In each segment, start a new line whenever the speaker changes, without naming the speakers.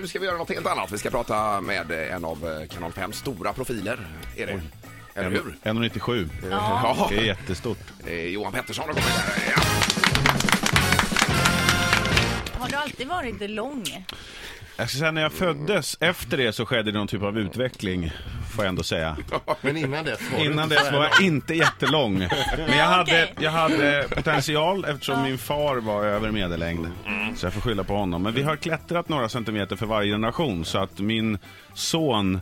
nu ska vi göra något helt annat. Vi ska prata med eh, en av eh, Kanal 5 stora profiler. Är det? Eller hur?
1,97.
Ja.
Det är jättestort.
Det är Johan Pettersson har kommit här. Ja.
Har du alltid varit lång?
Jag ska säga, Alltså, när jag föddes, efter det så skedde det någon typ av utveckling, får jag ändå säga.
Men innan dess var
Innan
det
dess var jag inte jättelång. Men jag hade,
okej.
jag hade potential eftersom min far var över medellängd. Så jag får skylla på honom. Men vi har klättrat några centimeter för varje generation. Så att min son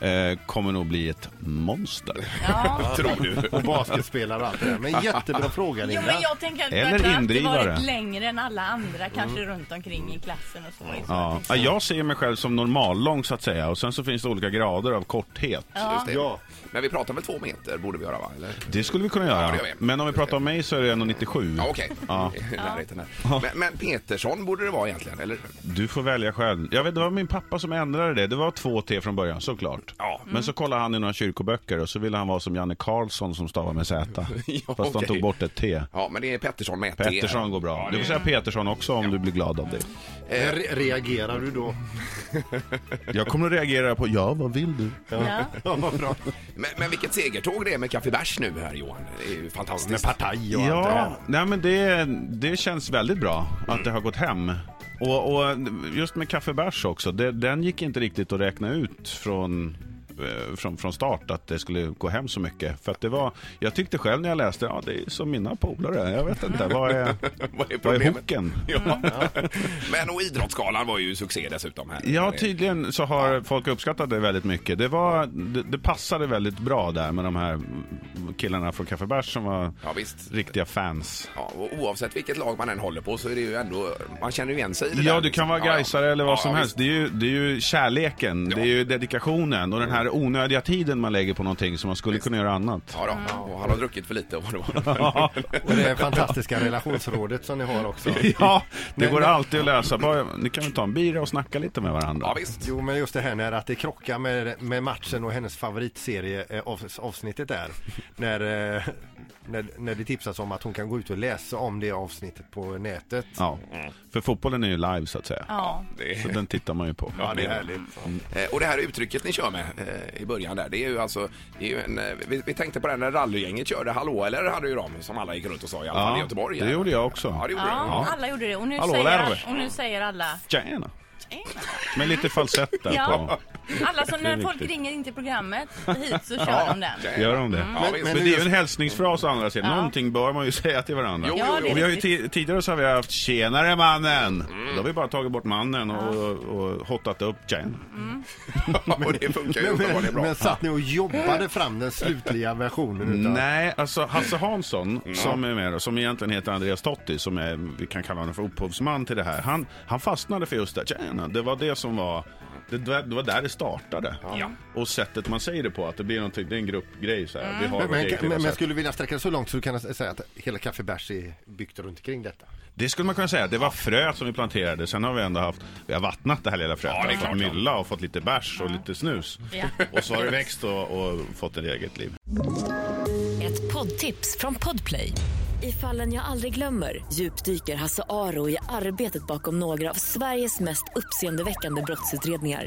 eh, kommer nog bli ett monster.
Ja.
Tror du?
och basketspelare och allt det där. Men jättebra fråga
Jo,
Linda.
men jag tänker att du
Eller
verkar alltid
indrivare. Mm.
varit längre än alla andra, kanske runt omkring i klassen och så. i så
Ja. Ja, jag ser mig själv som normallång så att säga. Och sen så finns det olika grader av korthet.
Just det.
Ja.
Men vi pratar väl två meter borde vi göra va? Eller?
Det skulle vi kunna
Ja,
göra.
det gör vi.
Men om vi pratar om mig så är det 1,97.
Ja okej.
Ja.
I närheten här. Men, men Petersson borde det vara egentligen, eller?
Du får välja själv. Jag vet, det var min pappa som ändrade det. Det var två T från början, såklart.
Ja.
Men så kollade han i några kyrkoböcker och så ville han vara som Janne Karlsson som stavar med Z.
Ja,
Fast de
okej.
tog bort ett T.
Ja, men det är Pettersson med ett E. T.
Pettersson går bra. Du får säga Petersson också om du blir glad av det.
Eh, re- Reagerar du då?
Jag kommer att reagera på ja, vad vill du?
fall. Ja.
Ja, vad bra.
Men, men vilket segertåg det är med Café Bärs nu här Johan. Det är ju
Med
fantastiskt.
partaj och allt det
Ja,
där.
nej men det, det känns väldigt bra
Mm.
att det har gått hem. Och, och just med kaffebärs också, det, den gick inte riktigt att räkna ut från, eh, från, från start att det skulle gå hem så mycket. För att det var, jag tyckte själv när jag läste, ja det är som mina polare, jag vet inte, vad är,
Vad är
vad är
problemet?
hooken?
Ja. Men och Idrottsgalan var ju succé dessutom här.
Ja,
Det-
tydligen så har folk uppskattat det väldigt mycket. Det, var, det, det passade väldigt bra där med de här killarna från Kaffebärs som var
Ja, visst.
riktiga fans.
Ja, och oavsett vilket lag man än håller på så är det ju ändå, man känner ju igen sig i det
Ja,
där,
du
liksom.
kan vara gaisare eller vad
Ja,
som
ja,
helst. Det är, ju, det är ju kärleken, det är ju dedikationen och den här onödiga tiden man lägger på någonting som man skulle kunna göra annat.
Ja, då. Och han har druckit för lite och vad det var.
Och det fantastiska relationsrådet som ni har också.
Ja, det
Men-
går
men-
alltid att lösa. Bara, ni kan väl ta en bira och snacka lite med varandra?
Ja, visst.
Jo, men just det här när att det krockar med, med matchen och hennes favoritserie eh, av, avsnittet är. När, eh, när, när det tipsas om att hon kan gå ut och läsa om det avsnittet på nätet.
Ja, för fotbollen är ju live så att säga.
Ja.
Det
Så den tittar man ju på.
Ja, det är härligt.
Mm.
Eh, Och det här uttrycket ni kör med eh, i början där, det är ju alltså, det är ju en, eh, vi, vi tänkte på det när rallygänget körde Hallå eller hade ju de som alla gick runt och sa i alla fall i
Ja,
Göteborg.
det
här.
gjorde jag
Ja,
också.
det gjorde
ja,
ja.
alla gjorde det. Och nu,
Hallå,
säger,
lärare.
och nu säger alla...
Tjena!
"Tjena."
Med lite falsett där på.
Ja. Alla som när folk
viktigt.
ringer in till programmet hit så kör de den.
det.
Gör de det?
Ja, visst.
Men det är ju en hälsningsfras å andra sidan.
Ja.
Någonting bör man ju säga till varandra.
Jo,
Ja, det
Och vi
är
har ju
riktigt.
ti- tidigare så har vi haft tjenare mannen. Då har vi bara tagit bort mannen och, och hotat upp tjejen.
och det funkar ju
Men,
uppenbarligen
men,
bra.
men satt ni och jobbade fram den slutliga versionen utav?
Nej, alltså Hasse Hansson som är med då, som egentligen heter Andreas Totti, som är, vi kan kalla honom för upphovsman till det här. Han, han fastnade för just det, tjena. Det var det som var, det, var- det var där det startade.
Ja.
Och sättet man säger det på, att det blir någonting, det är en gruppgrej så här. Vi har
Men,
vårt eget lilla
men, men, men
sätt.
skulle du vilja sträcka det så långt så du kan säga att hela Café Bärs är byggt runt omkring detta?
Det skulle man kunna säga. Det var fröet som vi planterade. Sen har vi ändå haft, vi har vattnat det här lilla fröet.
Ja, det är
Vi har fått
klart.
mylla och fått lite bärs och lite snus.
Ja.
Och så har det växt och, och fått ett eget liv.
Ett poddtips från Podplay. I fallen jag aldrig glömmer djupdyker Hasse Aro i arbetet bakom några av Sveriges mest uppseendeväckande brottsutredningar.